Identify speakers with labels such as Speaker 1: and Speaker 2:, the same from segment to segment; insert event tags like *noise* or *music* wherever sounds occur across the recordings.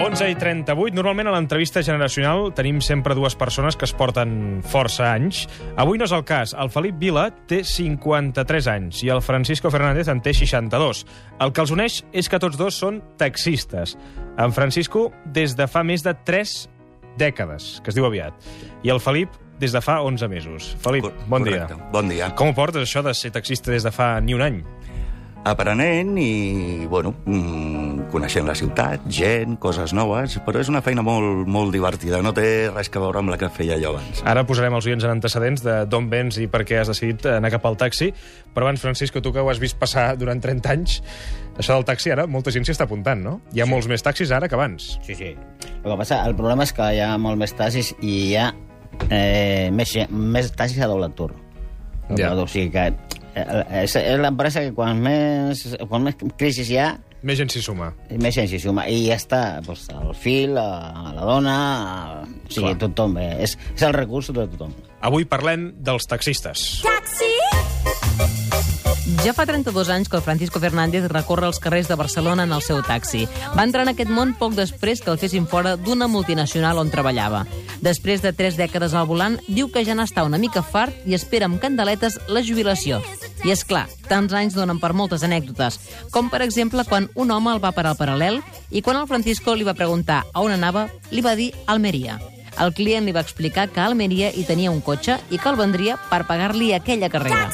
Speaker 1: 11 i 38. Normalment a l'entrevista generacional tenim sempre dues persones que es porten força anys. Avui no és el cas. El Felip Vila té 53 anys i el Francisco Fernández en té 62. El que els uneix és que tots dos són taxistes. En Francisco des de fa més de 3 dècades, que es diu aviat. I el Felip des de fa 11 mesos. Felip, bon
Speaker 2: Correcte.
Speaker 1: dia.
Speaker 2: Bon dia.
Speaker 1: Com ho portes, això de ser taxista des de fa ni un any?
Speaker 2: Aprenent i, bueno, mm, coneixent la ciutat, gent, coses noves, però és una feina molt, molt divertida. No té res que veure amb la que feia jo abans.
Speaker 1: Ara posarem els oients en antecedents de d'on vens i per què has decidit anar cap al taxi. Però abans, Francisco, tu que ho has vist passar durant 30 anys, això del taxi ara molta gent s'hi està apuntant, no? Hi ha sí. molts més taxis ara que abans.
Speaker 3: Sí, sí. El que passa, el problema és que hi ha molt més taxis i hi ha eh, més, gent- més taxis a doble tur.
Speaker 1: Ja.
Speaker 3: O sigui que eh, és és l'empresa que quan més, quan més crisi hi ha,
Speaker 1: Més gent s'hi suma.
Speaker 3: més gent s'hi suma. I ja està, doncs, el fill, la, la dona... eh, O sigui,
Speaker 1: Clar.
Speaker 3: tothom. Eh, és, és el recurs de tothom.
Speaker 1: Avui parlem dels taxistes.
Speaker 4: Ja fa 32 anys que el Francisco Fernández recorre els carrers de Barcelona en el seu taxi. Va entrar en aquest món poc després que el fessin fora d'una multinacional on treballava. Després de tres dècades al volant, diu que ja n'està una mica fart i espera amb candeletes la jubilació. I és clar, tants anys donen per moltes anècdotes, com per exemple quan un home el va parar al paral·lel i quan el Francisco li va preguntar a on anava, li va dir Almeria. El client li va explicar que a Almeria hi tenia un cotxe i que el vendria per pagar-li aquella carrera.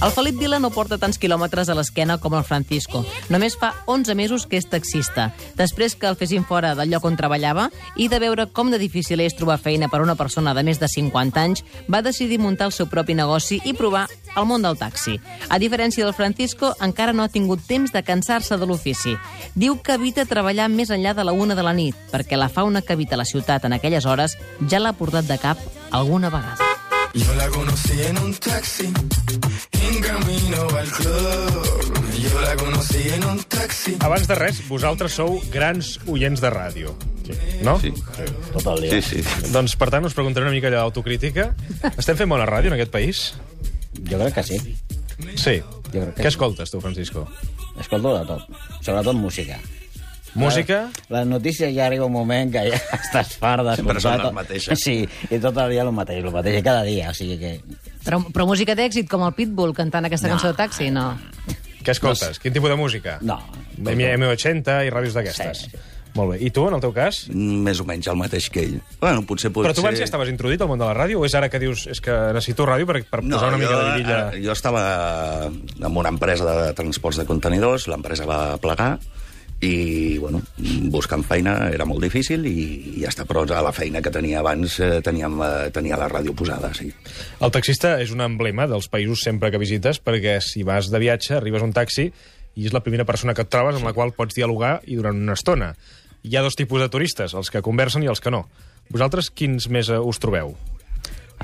Speaker 4: El Felip Vila no porta tants quilòmetres a l'esquena com el Francisco. Només fa 11 mesos que és taxista. Després que el fessin fora del lloc on treballava i de veure com de difícil és trobar feina per a una persona de més de 50 anys, va decidir muntar el seu propi negoci i provar el món del taxi. A diferència del Francisco, encara no ha tingut temps de cansar-se de l'ofici. Diu que evita treballar més enllà de la una de la nit, perquè la fauna que habita la ciutat en aquelles hores ja l'ha portat de cap alguna vegada.
Speaker 5: Yo la conocí en un taxi, en camino al club. Yo la conocí en un taxi.
Speaker 1: Abans de res, vosaltres sou grans oients de ràdio. Sí. No? Sí.
Speaker 3: Tot el dia.
Speaker 2: Sí, sí.
Speaker 1: Doncs, per tant, us preguntaré una mica allò d'autocrítica. Estem fent bona ràdio en aquest país?
Speaker 3: Jo crec que sí.
Speaker 1: Sí.
Speaker 3: Jo crec que
Speaker 1: Què
Speaker 3: sí.
Speaker 1: escoltes, tu, Francisco?
Speaker 3: Escolto de tot. Sobretot música.
Speaker 1: Música?
Speaker 3: Les notícies ja arriba un moment que ja *laughs* estàs fart d'escoltar...
Speaker 2: Sempre són les
Speaker 3: tot.
Speaker 2: mateixes.
Speaker 3: Sí, i tot el dia el mateix, el mateix, cada dia. O sigui que
Speaker 4: Però, però música d'èxit, com el Pitbull cantant aquesta no. cançó de taxi, no.
Speaker 1: Què escoltes? Quin tipus de música?
Speaker 3: No.
Speaker 1: M80 i ràdios d'aquestes.
Speaker 3: Sí.
Speaker 1: Molt bé. I tu, en el teu cas?
Speaker 2: Més o menys el mateix que ell. Bueno, potser... potser...
Speaker 1: Però tu abans ja estaves introduït al món de la ràdio o és ara que dius és que necessito ràdio per, per posar una mica de vidilla?
Speaker 2: ara- Jo estava en una empresa de transports de contenidors, l'empresa va plegar, i, bueno, buscant feina era molt difícil i, i ja està, però a la feina que tenia abans eh, teníem, eh, tenia la ràdio posada, sí.
Speaker 1: El taxista és un emblema dels països sempre que visites perquè si vas de viatge arribes a un taxi i és la primera persona que et trobes amb la qual pots dialogar i durant una estona. Hi ha dos tipus de turistes, els que conversen i els que no. Vosaltres quins més eh, us trobeu?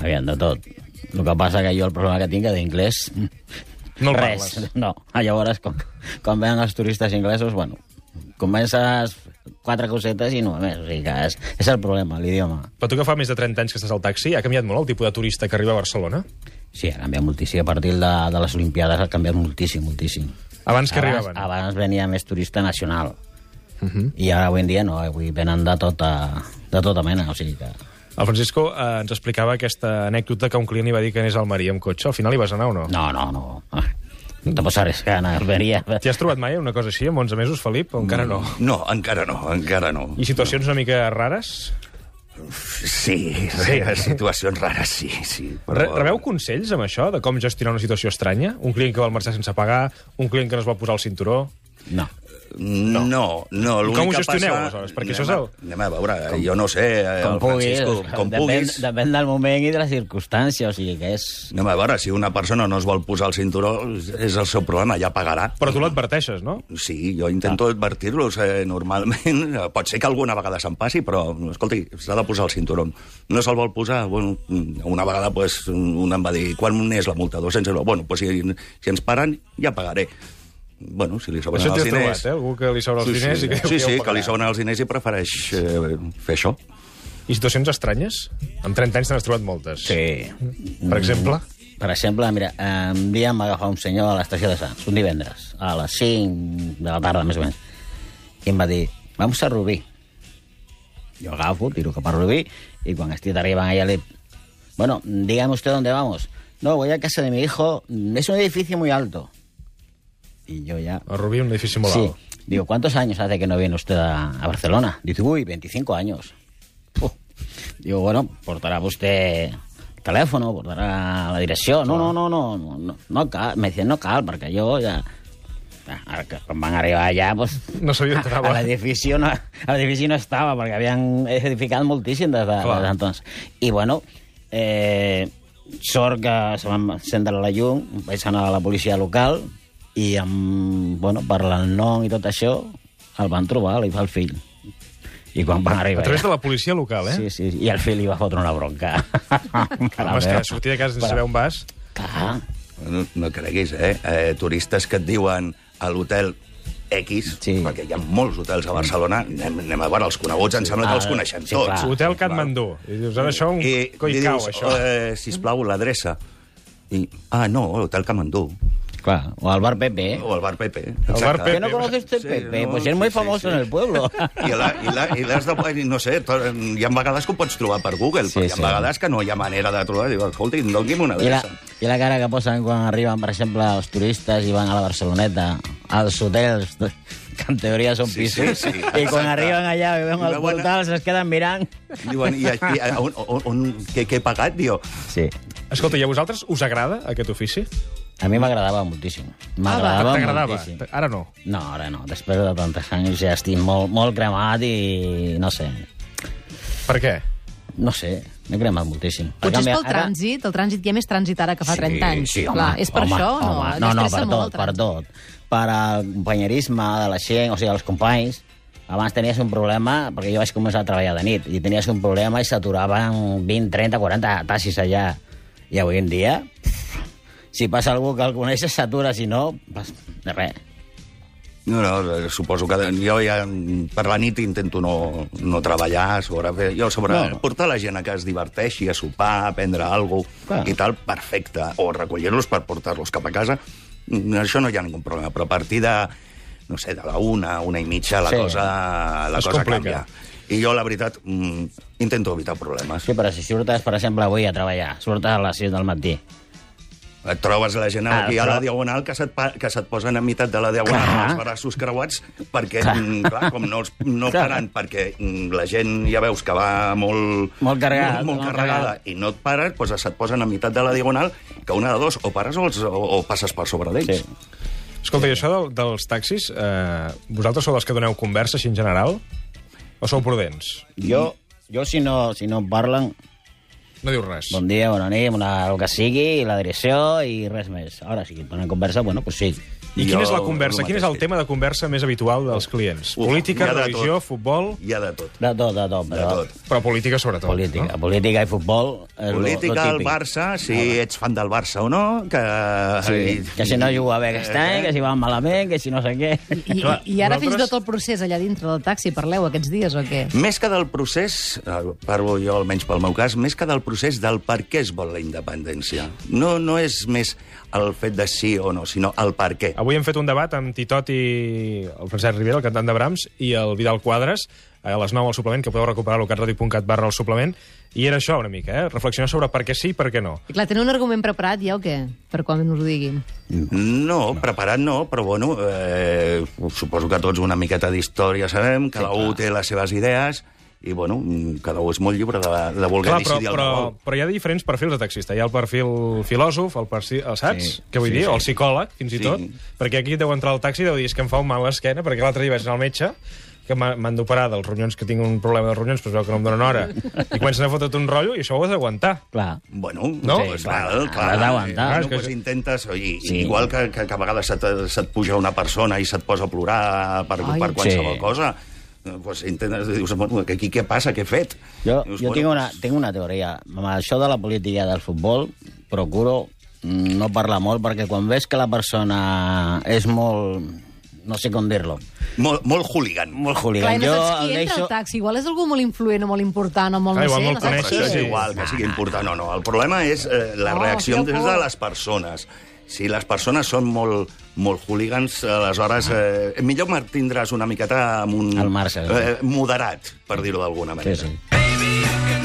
Speaker 3: Aviam, de tot. El que passa que jo el problema que tinc és d'inglès...
Speaker 1: No el
Speaker 3: Res,
Speaker 1: parles.
Speaker 3: no. Ah, Llavors, com, quan venen els turistes inglesos, bueno, comences quatre cosetes i no més. O sigui que és, és el problema, l'idioma.
Speaker 1: Però tu que fa més de 30 anys que estàs al taxi, ha canviat molt el tipus de turista que arriba a Barcelona?
Speaker 3: Sí, ha canviat moltíssim. A partir de, de les Olimpiades ha canviat moltíssim, moltíssim.
Speaker 1: Abans que
Speaker 3: abans,
Speaker 1: arribaven. Mhm.
Speaker 3: abans venia més turista nacional. Uh -huh. I ara avui en dia no, avui venen de tota, de tota mena, o sigui que...
Speaker 1: El Francisco eh, ens explicava aquesta anècdota que un client li va dir que anés al Maria amb cotxe. Al final hi vas anar o no?
Speaker 3: No, no, no. No te pots arriscar, no,
Speaker 1: *laughs*
Speaker 3: venia...
Speaker 1: T'hi has trobat mai una cosa així, amb 11 mesos, Felip? O encara no?
Speaker 2: No, encara no, encara no.
Speaker 1: I situacions una mica rares?
Speaker 2: Sí, sí, *laughs* situacions rares, sí, sí.
Speaker 1: Re Rebeu consells amb això, de com gestionar una situació estranya? Un client que vol marxar sense pagar, un client que no es vol posar el cinturó...
Speaker 3: No.
Speaker 2: No, no. no l'únic
Speaker 1: Com ho
Speaker 2: que
Speaker 1: gestioneu,
Speaker 2: passa...
Speaker 1: aleshores? Perquè
Speaker 2: anem
Speaker 1: això és el-
Speaker 2: A, anem a veure, com, jo no sé, eh,
Speaker 3: com
Speaker 2: el
Speaker 3: puguis,
Speaker 2: Francisco, com
Speaker 3: depèn,
Speaker 2: puguis.
Speaker 3: depèn del moment i de la circumstància, o sigui que és...
Speaker 2: Anem a veure, si una persona no es vol posar el cinturó, és el seu problema, ja pagarà.
Speaker 1: Però tu l'adverteixes, no?
Speaker 2: Sí, jo
Speaker 1: Ah.
Speaker 2: intento advertir-los eh, normalment. *laughs* Pot ser que alguna vegada se'n passi, però, escolti, s'ha de posar el cinturó. No se'l vol posar? Bueno, una vegada pues, un em va dir, quan és la multa? 200 euros. Bueno, pues, si, si ens paren, ja pagaré. Bueno, si li sobren
Speaker 1: Això
Speaker 2: els
Speaker 1: t'hi has
Speaker 2: diners...
Speaker 1: trobat, eh? Algú que li sobra els
Speaker 2: sí,
Speaker 1: diners
Speaker 2: sí,
Speaker 1: i que
Speaker 2: sí,
Speaker 1: ja ho
Speaker 2: sí, que
Speaker 1: pagarà.
Speaker 2: li sobren els diners i prefereix eh, fer això.
Speaker 1: I situacions estranyes? Amb 30 anys te n'has trobat moltes. Per exemple?
Speaker 3: Per exemple, mira, eh, un dia em va agafar un senyor a l'estació de Sants, un divendres, a les 5 de la tarda, més o menys. i em va dir, vamos a Rubí. Jo agafo, tiro cap a Rubí, i quan estic arribant allà li... Bueno, dígame usted dónde vamos. No, voy a casa de mi hijo, es un edificio muy alto. Y yo ya...
Speaker 1: A Rubí, un edifici molt
Speaker 3: Sí.
Speaker 1: alt.
Speaker 3: Digo, ¿cuántos años hace que no viene usted a, a Barcelona? Dice, uy, 25 años. Puh. Digo, bueno, portará usted el teléfono, portará la dirección. No, no, no, no, no, no, no cal. Me dice, no cal, perquè jo ja... ja, Ah, Ara que quan van arribar allà, pues,
Speaker 1: No eh? sabia on
Speaker 3: a,
Speaker 1: estava.
Speaker 3: a l'edifici no, a l'edifici no estava, perquè havien edificat moltíssim des de,
Speaker 1: Clar.
Speaker 3: des d'entons. I, bueno, eh, sort que se va encendre la llum, vaig anar a la policia local, i, amb, bueno, per el nom i tot això, el van trobar, li va el fill. I quan van
Speaker 1: A
Speaker 3: arribar...
Speaker 1: través de
Speaker 3: allà-
Speaker 1: la policia local, eh?
Speaker 3: Sí, sí, i el fill li va fotre una
Speaker 1: *laughs*
Speaker 3: bronca. Cara
Speaker 1: Home, és
Speaker 3: meva.
Speaker 1: que sortir de casa sense
Speaker 3: Però-
Speaker 1: saber on vas...
Speaker 3: Clar,
Speaker 2: No, no creguis, eh? eh? Turistes que et diuen a l'hotel X, sí.
Speaker 3: Sí.
Speaker 2: perquè hi ha molts hotels a Barcelona, anem, anem a veure els coneguts, em sembla
Speaker 3: Ah,
Speaker 2: que els coneixem
Speaker 3: sí,
Speaker 2: tots.
Speaker 3: clar. Ah,
Speaker 1: Hotel Katmandú. I dius, ara això un
Speaker 2: I
Speaker 1: coi
Speaker 2: li
Speaker 1: cau,
Speaker 2: dius,
Speaker 1: això.
Speaker 2: eh, sisplau, l'adreça. I, ah, no, hotel Camandú.
Speaker 3: clar. O el bar Pepe, eh?
Speaker 2: O el bar Pepe.
Speaker 1: bar
Speaker 3: Que
Speaker 1: Pepe.
Speaker 3: no conoces este
Speaker 2: Sí,
Speaker 3: Pepe,
Speaker 2: no,
Speaker 3: pues es muy
Speaker 2: sí, sí,
Speaker 3: famoso
Speaker 2: sí.
Speaker 3: en el
Speaker 1: *laughs*
Speaker 3: pueblo.
Speaker 2: I la- i la- i l'has de... No sé, to- hi ha vegades que ho pots trobar per Google, sí,
Speaker 3: Sí,
Speaker 2: però hi ha
Speaker 3: sí.
Speaker 2: sí. vegades que no hi ha manera de trobar. Diu, escolti, doni'm una
Speaker 3: I la,
Speaker 2: adreça.
Speaker 3: I la cara que posen quan arriben, per exemple, els turistes i van a la Barceloneta, als hotels, *laughs* que en teoria són
Speaker 2: Sí,
Speaker 3: pisos,
Speaker 2: sí, sí,
Speaker 3: i quan
Speaker 2: exacte.
Speaker 3: arriben allà i veuen
Speaker 2: I
Speaker 3: el
Speaker 2: veuen-
Speaker 3: portal, se'ls queden mirant.
Speaker 2: Diuen, i, i, on, on, on, què, què he pagat, diu?
Speaker 3: Sí.
Speaker 1: Escolta, i a vosaltres us agrada aquest ofici?
Speaker 3: A mi m'agradava moltíssim.
Speaker 4: Ah,
Speaker 2: Ah,
Speaker 1: T'agradava?
Speaker 3: moltíssim.
Speaker 1: Ara no.
Speaker 3: No, ara no. Després de tantes anys ja estic molt, molt cremat i no sé.
Speaker 1: Per què?
Speaker 3: No sé, m'he cremat moltíssim.
Speaker 4: Potser és
Speaker 3: canvi,
Speaker 4: pel
Speaker 3: ara-
Speaker 4: trànsit, el trànsit hi ha més trànsit ara que fa 30 anys.
Speaker 3: Sí, home,
Speaker 4: Clar, és per
Speaker 3: home,
Speaker 4: això o no?
Speaker 3: home, no, no, per
Speaker 4: L'estressa molt el
Speaker 3: tot, per
Speaker 4: trànsit.
Speaker 3: tot. Per al companyerisme de la gent, o sigui, els companys, abans tenies un problema, perquè jo vaig començar a treballar de nit, i tenies un problema i s'aturaven 20, 30, 40 taxis allà. I avui en dia, si passa algú que el coneixes, s'atura, si no, pues, de res.
Speaker 2: No, no, suposo que jo ja per la nit intento no, no treballar, sobre fer... Jo sobre
Speaker 3: No.
Speaker 2: no. portar la gent a que es diverteixi, a sopar, a prendre alguna cosa
Speaker 3: Clar.
Speaker 2: i tal, perfecte. O recollir-los per portar-los cap a casa, mm, això no hi ha ningun problema. Però a partir de, no sé, de la una, una i mitja, la
Speaker 3: Sí.
Speaker 2: sí. cosa, la
Speaker 1: Es
Speaker 2: cosa
Speaker 1: complica.
Speaker 2: canvia. I jo, la veritat, mm, intento evitar problemes.
Speaker 3: Sí, però si surtes, per exemple, avui a treballar, surtes a les 6 del matí,
Speaker 2: Et trobes la gent
Speaker 3: Ah,
Speaker 2: aquí a la
Speaker 3: però-
Speaker 2: diagonal que se't, pa- que se't posen a meitat de la diagonal
Speaker 3: Clar.
Speaker 2: amb els braços creuats perquè,
Speaker 3: Clar.
Speaker 2: clar, clar com no, els, no
Speaker 3: Clar.
Speaker 2: paren, perquè mm, la gent ja veus que va molt...
Speaker 3: Molt carregat,
Speaker 2: Molt,
Speaker 3: molt
Speaker 2: molt carregada.
Speaker 3: carregat.
Speaker 2: I no et pares, doncs se't posen a meitat de la diagonal que una de dos, o pares o, els, o, o passes per sobre d'ells.
Speaker 3: Sí.
Speaker 1: Escolta, i això del, dels taxis, eh, vosaltres sou dels que doneu conversa així en general? O sou prudents?
Speaker 3: jo, jo si, no, si no em parlen,
Speaker 1: No diu res.
Speaker 3: Bon dia, bona nit, una, el que sigui, la direcció i res més. Ara, si ponen conversa, bueno, pues sí.
Speaker 1: I quina
Speaker 2: Jo,
Speaker 1: és la
Speaker 2: el
Speaker 1: conversa? Quin
Speaker 2: mateix
Speaker 1: és el
Speaker 2: que-
Speaker 1: tema de conversa més habitual dels clients?
Speaker 2: Uf,
Speaker 1: política,
Speaker 2: hi ha de
Speaker 1: religió,
Speaker 2: tot.
Speaker 1: futbol...
Speaker 2: Hi ha de tot,
Speaker 3: De tot, de tot,
Speaker 2: de
Speaker 3: però...
Speaker 2: tot.
Speaker 1: Però política, sobretot.
Speaker 3: Política, no? política i futbol... És lo-
Speaker 2: Política
Speaker 3: lo
Speaker 2: al
Speaker 3: típic. Ah,
Speaker 2: Barça, si ets fan del Barça o no, que...
Speaker 3: Sí, que si no juga bé aquest any, que si va malament, que si no sé què...
Speaker 4: I,
Speaker 1: Clar,
Speaker 4: I ara fins i
Speaker 1: nosaltres-
Speaker 4: tot el procés allà dintre del taxi, parleu aquests dies o què?
Speaker 2: Més que del procés, eh, parlo jo almenys pel meu cas, més que del procés del per què es vol la independència. No, no és més el fet de sí o no, sinó el per què.
Speaker 1: Avui hem fet un debat amb Titot i el Francesc Rivera, el cantant de Brahms, i el Vidal Quadres, a les 9 al suplement, que podeu recuperar a locatradio.cat barra el suplement. I era això una mica, eh? Reflexionar sobre per què sí i per què no.
Speaker 4: I clar, teniu un argument preparat ja o què? Per quan us ho diguin.
Speaker 2: No, preparat no, però bueno, eh, suposo que tots una miqueta d'història sabem, cada un té les seves idees, i bueno, mm, cada un és molt lliure de, de voler
Speaker 1: Clar, però,
Speaker 2: decidir
Speaker 1: però,
Speaker 2: el que vol.
Speaker 1: però hi ha diferents perfils de taxista. Hi ha el perfil filòsof, el perfil, el saps?
Speaker 3: Sí,
Speaker 1: Sí, que vull
Speaker 3: sí,
Speaker 1: sí, dir,
Speaker 3: sí.
Speaker 1: o el psicòleg, fins i
Speaker 2: Sí.
Speaker 1: tot. Perquè aquí deu entrar al taxi i deu dir és que em fa un mal a l'esquena, perquè l'altre dia vaig anar al metge que m'ha- m'han d'operar dels ronyons, que tinc un problema de ronyons, però es veu que no em donen hora. I comencen a fotre't un rotllo i això ho has d'aguantar.
Speaker 3: Clar.
Speaker 2: Bueno,
Speaker 1: No?
Speaker 2: doncs,
Speaker 1: Sí,
Speaker 3: clar,
Speaker 2: val, clar,
Speaker 3: has d'aguantar.
Speaker 2: Bueno,
Speaker 1: És que
Speaker 2: doncs
Speaker 1: això-
Speaker 2: intentes, i,
Speaker 3: Sí.
Speaker 2: sí. igual que, que, que a vegades se't, se't puja una persona i se't posa a plorar per,
Speaker 4: Ai.
Speaker 2: per qualsevol
Speaker 3: Sí.
Speaker 2: sí. cosa, eh, doncs intentes, dius, bueno, que aquí què passa, què he fet?
Speaker 3: Jo,
Speaker 2: dius,
Speaker 3: jo tinc, una, tinc una teoria. Amb això de la política del futbol, procuro mm, no parlar molt, perquè quan ves que la persona és molt... No sé com dir-lo.
Speaker 2: Molt, molt hooligan.
Speaker 3: Molt
Speaker 4: Clar,
Speaker 3: hooligan.
Speaker 4: i no saps
Speaker 3: el
Speaker 4: qui entra al taxi. Igual és algú molt influent o molt important o molt...
Speaker 1: Clar,
Speaker 4: no
Speaker 1: igual
Speaker 4: sé,
Speaker 1: molt
Speaker 4: no
Speaker 2: Però
Speaker 4: saps
Speaker 1: coneixes,
Speaker 4: qui
Speaker 2: això
Speaker 3: Ah.
Speaker 2: és
Speaker 1: sí.
Speaker 4: és.
Speaker 2: igual, que sigui important o no. El problema és eh, la
Speaker 4: Oh,
Speaker 2: reacció
Speaker 4: que
Speaker 2: des
Speaker 4: por.
Speaker 2: de les persones. Si les persones són molt, molt hooligans, aleshores eh, millor mantindràs una miqueta amb un...
Speaker 3: Ah. Al marge, sí.
Speaker 2: Eh, moderat, per dir-ho d'alguna
Speaker 3: Sí,
Speaker 2: manera.
Speaker 3: sí.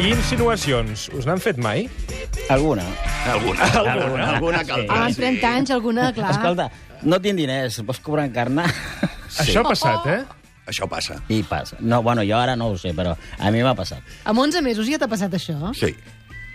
Speaker 1: I insinuacions, us n'han fet mai?
Speaker 3: Alguna.
Speaker 2: Alguna, alguna, alguna caldrà.
Speaker 6: Abans 30 anys,
Speaker 3: *laughs*
Speaker 6: alguna, clar.
Speaker 3: Escolta, no tinc diners, pots cobrar en carne?
Speaker 1: Sí. Això ha passat, eh?
Speaker 2: Això passa.
Speaker 3: *laughs* I passa. No, bueno, jo ara no ho sé, però a mi m'ha passat.
Speaker 6: Amb 11 mesos ja t'ha passat això?
Speaker 2: Sí,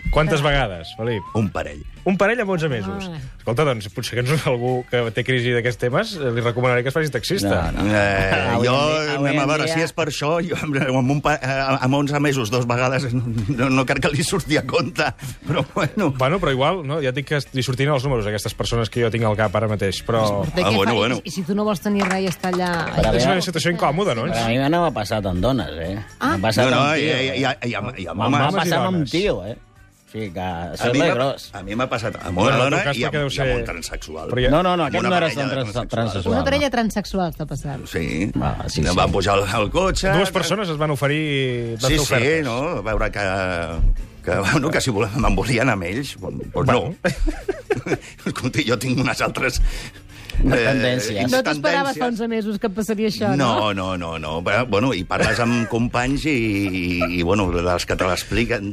Speaker 6: Eh.
Speaker 1: Quantes vegades, Felip?
Speaker 2: un parell.
Speaker 1: Un parell amb 11 mesos.
Speaker 4: Ah.
Speaker 1: Escolta, doncs, potser que ens algú que té crisi d'aquests temes eh, li recomanaré que es faci taxista.
Speaker 3: No,
Speaker 2: Eh,
Speaker 3: Avui
Speaker 2: jo,
Speaker 3: en dia- avui
Speaker 2: anem a
Speaker 3: en
Speaker 2: veure,
Speaker 3: dia-
Speaker 2: si és per això, jo, amb, un pa, eh, amb 11 mesos, dos vegades, no, no crec que li surti a compte, però bueno...
Speaker 1: Bueno, però igual, no? ja et dic que li sortien els números a aquestes persones que jo tinc al cap ara mateix,
Speaker 3: Oh,
Speaker 1: però...
Speaker 6: De què
Speaker 2: Ah, bueno,
Speaker 6: fa-
Speaker 2: bueno.
Speaker 6: I si tu no vols tenir res i estar allà...
Speaker 3: Però
Speaker 1: És una
Speaker 3: veure.
Speaker 1: situació incòmoda, no?
Speaker 3: Però a mi no m'ha passat amb dones, eh?
Speaker 6: Ah.
Speaker 3: M'ha passat
Speaker 2: No, no,
Speaker 3: amb
Speaker 2: i,
Speaker 3: tio.
Speaker 2: i, i, i, i, i, i amb
Speaker 3: M'ha m'ha
Speaker 1: eh, homes i
Speaker 3: passat amb un
Speaker 1: dones.
Speaker 3: tio, eh? O sigui que
Speaker 2: A
Speaker 3: això
Speaker 2: mi
Speaker 3: és
Speaker 2: m'ha-
Speaker 3: gros.
Speaker 2: A mi m'ha passat amb
Speaker 1: Bueno,
Speaker 2: una
Speaker 1: en tot
Speaker 2: dona
Speaker 1: cas,
Speaker 2: i amb,
Speaker 1: perquè deu
Speaker 2: i amb
Speaker 1: ser-
Speaker 2: un transexual.
Speaker 1: Però ja-
Speaker 3: No, no, no, aquest
Speaker 2: Amb una
Speaker 3: no era
Speaker 2: parella de
Speaker 3: trans-
Speaker 2: transexuals.
Speaker 3: transsexual.
Speaker 6: Una parella transexual t'ha passat.
Speaker 2: Sí,
Speaker 3: Ah, sí,
Speaker 2: No,
Speaker 3: sí.
Speaker 2: van pujar al- al cotxe...
Speaker 1: Dues persones es van oferir... van fer
Speaker 2: Sí, sí,
Speaker 1: ofertes.
Speaker 2: no? A veure que... que, bueno, que si volem, me'n volien amb ells, doncs bueno. no. *laughs* Escolta, jo tinc unes altres... Eh,
Speaker 3: Tendències.
Speaker 6: No t'esperaves fa 11
Speaker 2: tendències.
Speaker 6: mesos que et passaria això, no?
Speaker 2: No, no, no, no. Però, Bueno, i parles
Speaker 6: *laughs*
Speaker 2: amb companys i, i bueno, les que te l'expliquen,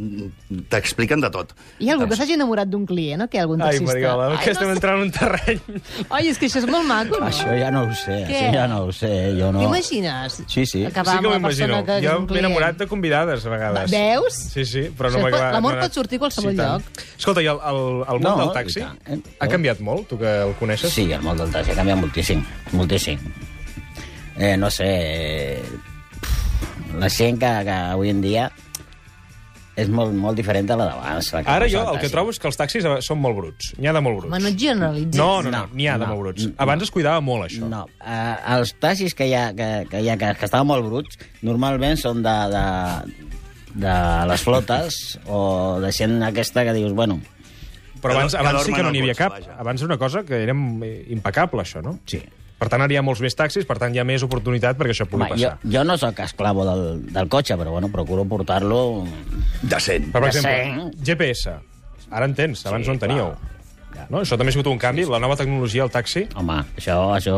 Speaker 2: t'expliquen de tot.
Speaker 6: Hi ha algú que s'hagi enamorat d'un client o què? Algun
Speaker 1: Ai,
Speaker 6: taxista?
Speaker 1: Mariola,
Speaker 6: Ai,
Speaker 1: que estem
Speaker 6: no sé.
Speaker 1: entrant en un terreny...
Speaker 6: Ai, és que això és molt maco, no?
Speaker 3: Això ja no ho sé,
Speaker 6: Què?
Speaker 3: això ja no ho sé. eh? Jo no...
Speaker 6: T'imagines?
Speaker 3: Sí, sí.
Speaker 6: Acabar amb la persona que és
Speaker 1: Jo
Speaker 6: un
Speaker 1: m'he
Speaker 6: client.
Speaker 1: enamorat de convidades, a vegades.
Speaker 6: Veus?
Speaker 1: Sí, sí, però
Speaker 6: Això
Speaker 1: no m'ha
Speaker 6: pot-
Speaker 1: acabat.
Speaker 6: l'amor
Speaker 1: no ha anat-
Speaker 6: pot sortir a qualsevol
Speaker 1: tant.
Speaker 6: lloc.
Speaker 1: Escolta, i el, el, el món
Speaker 3: No,
Speaker 1: del
Speaker 3: i
Speaker 1: taxi
Speaker 3: tant, eh?
Speaker 1: ha canviat molt, tu que el coneixes?
Speaker 3: Sí, el món del taxi ha canviat moltíssim, moltíssim. Eh, no sé... eh, pff, La gent que, que avui en dia és molt, molt diferent de la d'abans. la que
Speaker 1: Ara
Speaker 3: usa
Speaker 1: jo el que
Speaker 3: taxi.
Speaker 1: trobo és que els taxis eh, són molt bruts. N'hi ha de molt bruts.
Speaker 6: Home, no et generalitzis.
Speaker 1: No, no, no,
Speaker 3: No,
Speaker 1: n'hi ha de
Speaker 3: no,
Speaker 1: molt bruts.
Speaker 3: no.
Speaker 1: Abans es cuidava molt, això.
Speaker 3: No, eh, els taxis que hi ha, que, que, hi ha que, que estaven molt bruts, normalment són de, de, de les flotes o de gent aquesta que dius, bueno,
Speaker 1: Però abans,
Speaker 2: Que dor-
Speaker 1: abans
Speaker 2: que
Speaker 1: sí que no
Speaker 2: dormen
Speaker 1: n'hi
Speaker 2: al
Speaker 1: havia cap.
Speaker 2: cotxe, vaja.
Speaker 1: Abans era una cosa que era eh, impecable, això, no?
Speaker 3: sí.
Speaker 1: Per tant, ara hi ha molts més taxis, per tant, hi ha més oportunitat perquè això pugui
Speaker 3: Home, jo,
Speaker 1: passar.
Speaker 3: jo no sóc esclavo del, del cotxe, però bueno, procuro portar-lo...
Speaker 2: Decent.
Speaker 1: Però, per
Speaker 3: Ja
Speaker 1: exemple, GPS. Ara en tens, abans
Speaker 3: Sí,
Speaker 1: no en teníeu.
Speaker 3: clar.
Speaker 1: No? Això també ha sigut un canvi, la nova tecnologia al taxi.
Speaker 3: Home, això, això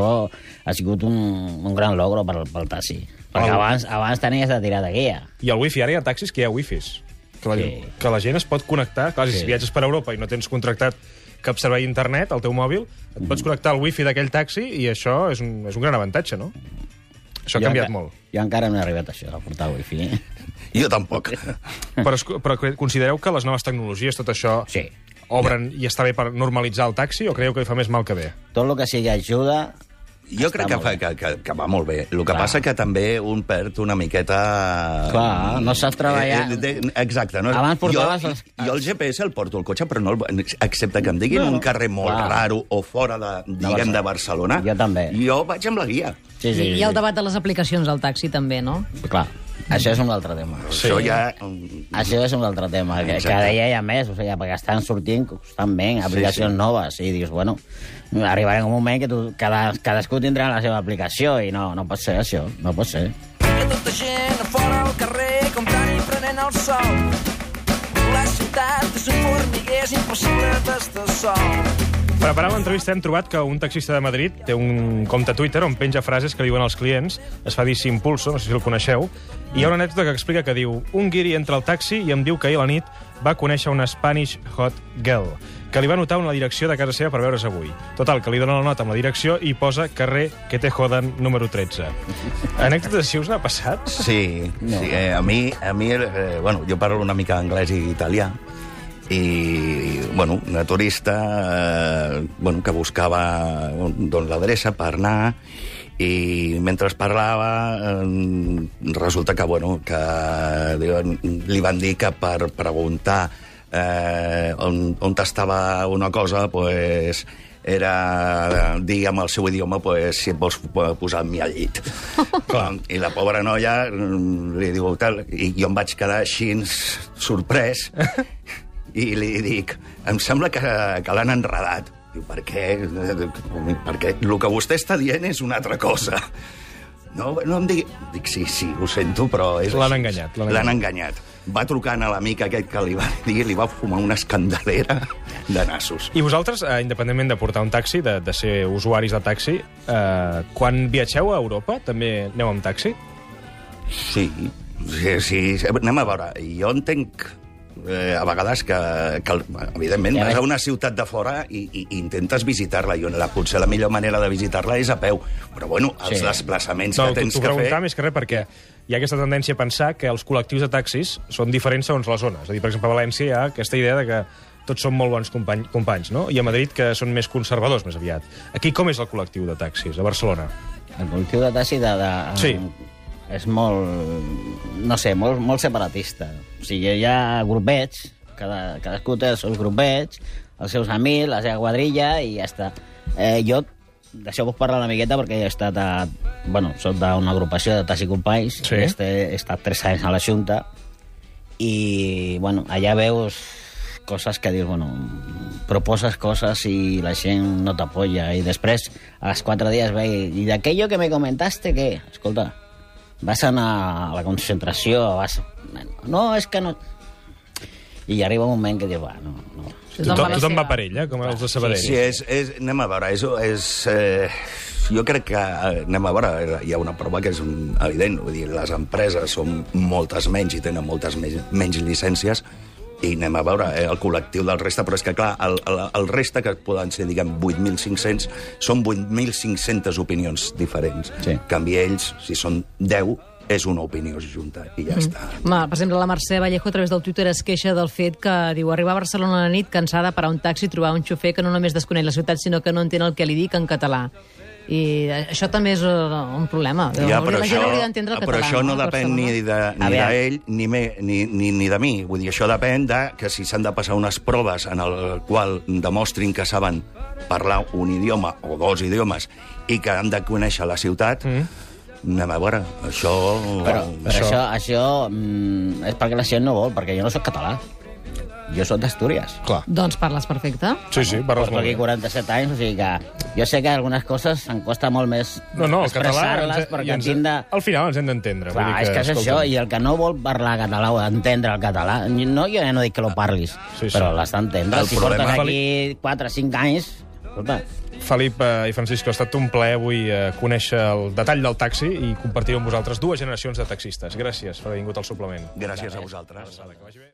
Speaker 3: ha sigut un, un gran logro pel, pel taxi. Perquè
Speaker 1: Au.
Speaker 3: abans, abans tenies de tirar de guia.
Speaker 1: I el wifi, ara hi ha taxis que hi ha wifis. Que la,
Speaker 3: Sí.
Speaker 1: que la gent es pot connectar. Clar, si
Speaker 3: Sí.
Speaker 1: viatges per Europa i no tens contractat cap servei d'internet al teu mòbil, et pots
Speaker 3: Mm.
Speaker 1: connectar al wifi d'aquell taxi i això és un, és un gran avantatge, no? Això ha
Speaker 3: Jo
Speaker 1: canviat
Speaker 3: enca- *laughs*
Speaker 1: molt.
Speaker 3: Jo encara no he arribat a això, a portar wifi.
Speaker 2: Jo tampoc.
Speaker 1: Però, es- però cre- considereu que les noves tecnologies, tot això,
Speaker 3: Sí.
Speaker 1: obren i està bé per normalitzar el taxi o creieu que hi fa més mal que bé?
Speaker 3: Tot el que sigui ajuda...
Speaker 2: Jo crec que,
Speaker 3: molt
Speaker 2: fa,
Speaker 3: bé.
Speaker 2: que, que, que va molt bé. El que
Speaker 3: Clar.
Speaker 2: passa que també un perd una miqueta...
Speaker 3: Clar, no saps treballar.
Speaker 2: Eh, eh, de- Exacte. No?
Speaker 3: Abans portaves
Speaker 2: Jo,
Speaker 3: els-
Speaker 2: jo el GPS el porto al cotxe, però no el, excepte que em diguin no. un carrer molt
Speaker 3: Clar.
Speaker 2: raro o fora de, diguem, de Barcelona.
Speaker 3: Jo també.
Speaker 2: Jo vaig amb la guia.
Speaker 3: Sí, sí,
Speaker 4: I, I
Speaker 3: sí.
Speaker 4: el debat de les aplicacions al taxi, també, no?
Speaker 3: Clar, això és un altre tema.
Speaker 2: Sí. Això ja...
Speaker 3: Això és un altre tema, que, que
Speaker 2: Exacte.
Speaker 3: deia ja més, o sigui, perquè estan sortint constantment aplicacions
Speaker 2: sí.
Speaker 3: noves, i dius, bueno, arribarà un moment que tu, cada, cadascú tindrà la seva aplicació, i no, no pot ser això, no pot ser.
Speaker 7: que tota gent a fora al carrer comptant i prenent el sol. La ciutat és un formiguer, és impossible d'estar sol.
Speaker 1: Preparant l'entrevista hem trobat que un taxista de Madrid té un compte a Twitter on penja frases que diuen els clients, es fa dir Simpulso, no sé si el coneixeu, i hi ha una anècdota que explica que diu un guiri entra al taxi i em diu que ahir a la nit va conèixer una Spanish hot girl que li va notar una direcció de casa seva per veure's avui. Total, que li dona la nota amb la direcció i posa carrer que te jodan número 13. Anècdota així us n'ha passat?
Speaker 2: Sí, no. sí eh, a mi, a mi eh, bueno, jo parlo una mica anglès i italià, i, bueno, una turista eh, bueno, que buscava on- doncs, l'adreça per anar i mentre es parlava eh, resulta que, bueno, que li van, li van dir que per preguntar eh, on, on estava una cosa pues, era dir amb el seu idioma pues, si et vols posar amb mi al llit. Clar. I la pobra noia mm, li diu tal, i jo em vaig quedar així sorprès i li dic, em sembla que, que l'han enredat. Diu, per què? Perquè el que vostè està dient és una altra cosa. No, no em digui... Dic, sí, sí, ho sento, però... és
Speaker 1: L'han
Speaker 2: així."
Speaker 1: enganyat, l'han
Speaker 2: L'han enganyat. Va trucant a l'amic aquest que li va dir, li va fumar una escandalera de nassos.
Speaker 1: I vosaltres, eh, independentment de portar un taxi, de, de ser usuaris de taxi, eh, quan viatgeu a Europa també aneu amb taxi?
Speaker 2: Sí, sí, sí. Anem a veure, jo entenc eh, a vegades que, que el- evidentment,
Speaker 3: Ja
Speaker 2: vas
Speaker 3: veig.
Speaker 2: a una ciutat de fora i, i, i intentes visitar-la, i on la, potser la millor manera de visitar-la és a peu. Però, bueno, els
Speaker 3: Sí.
Speaker 2: sí. desplaçaments
Speaker 1: No,
Speaker 2: que
Speaker 1: t'ho
Speaker 2: tens
Speaker 1: t'ho
Speaker 2: que fer...
Speaker 1: preguntava més que res perquè hi ha aquesta tendència a pensar que els col·lectius de taxis són diferents segons la zona. És a dir, per exemple, a València hi ha aquesta idea de que tots són molt bons company, companys, no? I a Madrid, que són més conservadors, més aviat. Aquí com és el col·lectiu de taxis, a Barcelona?
Speaker 3: El col·lectiu de Tassi de, de,
Speaker 1: Sí.
Speaker 3: és molt, no sé, molt, molt separatista. O sigui, hi ha grupets, cada, cadascú té els seus grupets, els seus amics, la seva quadrilla i ja està. Eh, jo, deixeu-vos parlar una miqueta perquè he estat a... Bueno, soc d'una agrupació de Tassi Companys,
Speaker 1: Sí.
Speaker 3: sí. he, estat, he estat tres anys a la Junta i, bueno, allà veus coses que dius, bueno, proposes coses i la gent no t'apoya i després a les quatre dies ve i, i d'aquello que me comentaste que, escolta, vas anar a la concentració, vas... No, és que no... I arriba un moment que diu, va, no, no.
Speaker 1: Tothom,
Speaker 4: la
Speaker 1: tothom
Speaker 4: seva.
Speaker 1: va per ella, com els de Sabadell.
Speaker 2: Sí, és, és, anem a veure, és, és, eh, jo crec que, eh, anem a veure, hi ha una prova que és un, evident, vull dir, les empreses són moltes menys i tenen moltes menys, menys llicències, i anem a veure eh, el col·lectiu del resta, però és que, clar, el, el, el resta, que poden ser, diguem, 8.500, són 8.500 opinions diferents.
Speaker 3: Sí.
Speaker 2: Canvi ells, si són 10, és una opinió junta, i ja mm. està.
Speaker 4: Ma, per exemple, la Mercè Vallejo a través del Twitter es queixa del fet que diu arribar a Barcelona a la nit cansada, parar un taxi i trobar un xofer que no només desconeix la ciutat, sinó que no entén el que li dic en català. I eh, això també és eh, un problema.
Speaker 2: Ja,
Speaker 4: Hauria-
Speaker 2: però
Speaker 4: Doncs la gent
Speaker 2: això,
Speaker 4: hauria d'entendre el
Speaker 2: però
Speaker 4: català,
Speaker 2: això no
Speaker 4: a
Speaker 2: depèn
Speaker 4: Barcelona.
Speaker 2: ni de-
Speaker 3: A
Speaker 2: ni
Speaker 3: veure.
Speaker 2: d'ell ni, me- ni, ni, ni de mi. Vull dir, això depèn de que si s'han de passar unes proves en el qual demostrin que saben parlar un idioma o dos idiomes i que han de conèixer la ciutat, mm. anem a veure, això...
Speaker 3: Però, però
Speaker 1: això-
Speaker 3: això, això mm, és perquè la gent no vol, perquè jo no sóc català. Jo sóc d'Astúries.
Speaker 1: Clar.
Speaker 4: Doncs parles perfecte.
Speaker 1: Sí, sí, parles
Speaker 3: Porto
Speaker 1: molt
Speaker 3: aquí
Speaker 1: bé.
Speaker 3: 47 anys, o sigui que jo sé que algunes coses em costa molt més
Speaker 1: No, no, el català... i
Speaker 3: expressar-les perquè ens... tinc de...
Speaker 1: Al final ens hem d'entendre.
Speaker 3: Clar,
Speaker 1: vull dir
Speaker 3: és que és això,
Speaker 1: escolta'm.
Speaker 3: i el que no vol parlar català o entendre el català, no, jo ja no dic que lo parlis,
Speaker 1: Sí, sí.
Speaker 3: però l'has d'entendre.
Speaker 2: El
Speaker 3: Si
Speaker 2: problema-
Speaker 3: portes aquí 4 o 5 anys, escolta,
Speaker 1: Felip eh, i Francisco, ha estat un plaer avui eh, conèixer el detall del taxi i compartir amb vosaltres dues generacions de taxistes. Gràcies per haver vingut al suplement.
Speaker 2: Gràcies a vosaltres.
Speaker 1: Que vagi bé.